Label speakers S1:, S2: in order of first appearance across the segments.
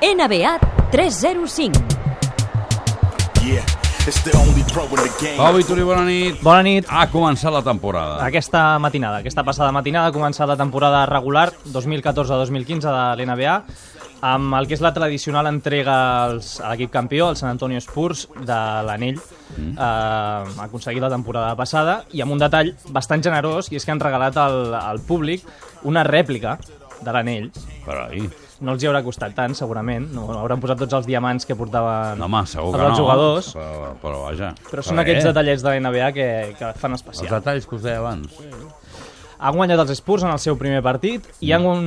S1: NBA 305.
S2: Yeah, it's the only pro in the game.
S3: Pau Vituri, bona nit.
S4: Bona nit.
S3: Ha començat la temporada.
S4: Aquesta matinada, aquesta passada matinada, ha començat la temporada regular 2014-2015 de l'NBA amb el que és la tradicional entrega als, a l'equip campió, el San Antonio Spurs, de l'anell mm. eh, aconseguit la temporada passada i amb un detall bastant generós i és que han regalat al, al públic una rèplica de l'anell.
S3: Carai.
S4: No els hi haurà costat tant, segurament. No hauran posat tots els diamants que portaven
S3: No, home, segur que
S4: els
S3: no.
S4: jugadors.
S3: Però, però vaja.
S4: Però són aquests
S3: eh,
S4: detallets de l'NBA que, que fan
S3: Els
S4: especial.
S3: detalls que us deia abans.
S4: Han guanyat els Spurs en el seu primer partit i han un...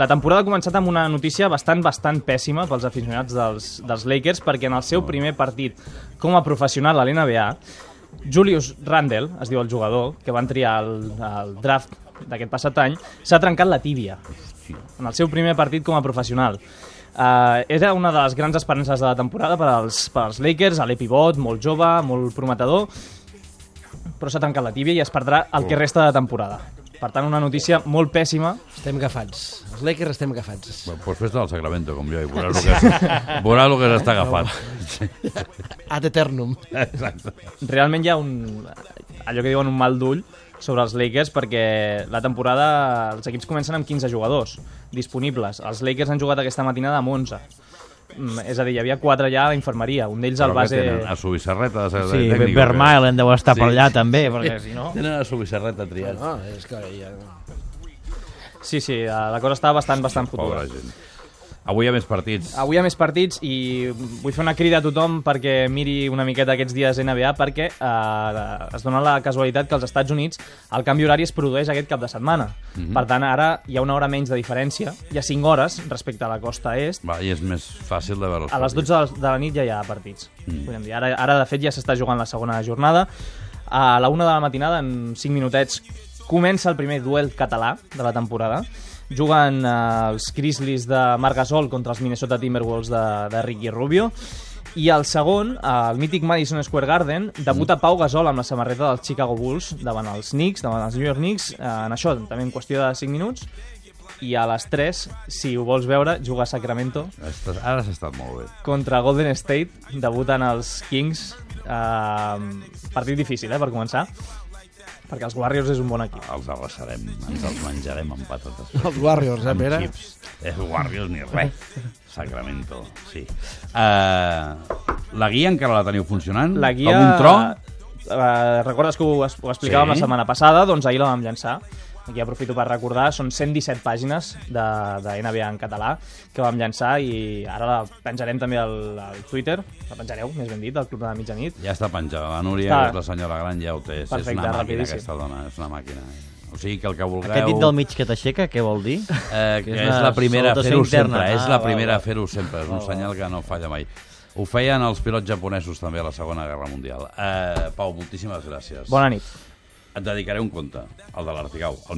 S4: la temporada ha començat amb una notícia bastant, bastant pèssima pels aficionats dels, dels Lakers perquè en el seu primer partit com a professional a l'NBA Julius Randle, es diu el jugador, que van triar el, el draft d'aquest passat any, s'ha trencat la tíbia en el seu primer partit com a professional. Uh, era una de les grans esperances de la temporada per als, per als Lakers, a l'epivot, molt jove, molt prometedor, però s'ha trencat la tíbia i es perdrà el
S3: Oh.
S4: que resta de temporada. Per tant, una notícia molt pèssima.
S5: Estem agafats. Els Lakers estem agafats.
S3: Bueno, Doncs fes del Sacramento, com jo, i veuràs el que, veuràs el que s'està agafant. Sí,
S5: Ad eternum.
S3: exacte.
S4: Realment hi ha un, allò que diuen un mal d'ull sobre els Lakers perquè la temporada els equips comencen amb 15 jugadors disponibles. Els Lakers han jugat aquesta matinada amb 11. Mm, és a dir, hi havia 4 ja a la infermeria. Un d'ells
S3: Però
S4: al
S3: què
S4: base...
S3: tenen? A Subissarreta, de secretari
S6: Sí,
S3: tècnic, o què?
S6: Vermaelen deu estar per
S3: Sí.
S6: allà també, perquè si no...
S3: Tenen a Subissarreta triat.
S5: No, és que ja...
S4: Sí, sí, eh, la cosa estava bastant, bastant fotuda.
S3: Pobra gent. Avui hi ha més partits.
S4: Avui hi ha més partits i vull fer una crida a tothom perquè miri una miqueta aquests dies NBA perquè eh, es dona la casualitat que als Estats Units el canvi horari es produeix aquest cap de setmana. Mm -hmm. Per tant, ara hi ha una hora menys de diferència, hi ha 5 hores respecte a la costa est.
S3: Va, I és més fàcil de veure els
S4: A les 12 de la nit ja hi ha partits. Mm. Podem dir. Ara, ara, de fet, ja s'està jugant la segona jornada. A la 1 de la matinada, en 5 minutets, comença el primer duel català de la temporada. Juguen eh, els Grizzlies de Marc Gasol contra els Minnesota Timberwolves de, de Ricky Rubio. I el segon, al mític Madison Square Garden, debuta Pau Gasol amb la samarreta dels Chicago Bulls davant els Knicks, davant els New York Knicks, eh, en això també en qüestió de 5 minuts. I a les 3, si ho vols veure, juga a Sacramento
S3: Estàs, ara has estat molt bé.
S4: contra Golden State, debuten els Kings. Eh, partit difícil, eh, per començar, perquè els Warriors és un bon equip.
S3: Els arrasarem, ens els menjarem amb patates.
S5: Els Warriors, eh,
S3: Amb
S5: Pere?
S3: xips. Eh, Warriors ni res. Sacramento, sí. Uh, la guia encara la teniu funcionant?
S4: La guia...
S3: Com un tron?
S4: Eh, recordes que ho, es- ho explicàvem
S3: Sí.
S4: sí. la setmana passada? Doncs ahir la vam llançar. Aquí aprofito per recordar, són 117 pàgines de, de NBA en català que vam llançar i ara la penjarem també al, al Twitter, la penjareu, més ben dit, al Club de la Mitjanit.
S3: Ja està penjada. La Núria,
S4: Està.
S3: que és la senyora gran, ja ho té. Sí, és
S4: Perfecte,
S3: una màquina,
S4: rapidíssim.
S3: aquesta dona. És una màquina. O sigui, que el que vulgueu...
S6: Aquest dit del mig que t'aixeca, què vol dir?
S3: Eh, que
S6: Que és
S3: és,
S6: una
S3: la primera a fer-ho
S6: salutació
S3: sempre,
S6: interna.
S3: és
S6: Ah,
S3: la
S6: val,
S3: primera a
S6: val.
S3: fer-ho sempre, és un senyal que no falla mai. Ho feien els pilots japonesos també a la Segona Guerra Mundial. Eh, Pau, moltíssimes gràcies.
S4: Bona nit.
S3: Et dedicaré un conte, el de l'Artigau, el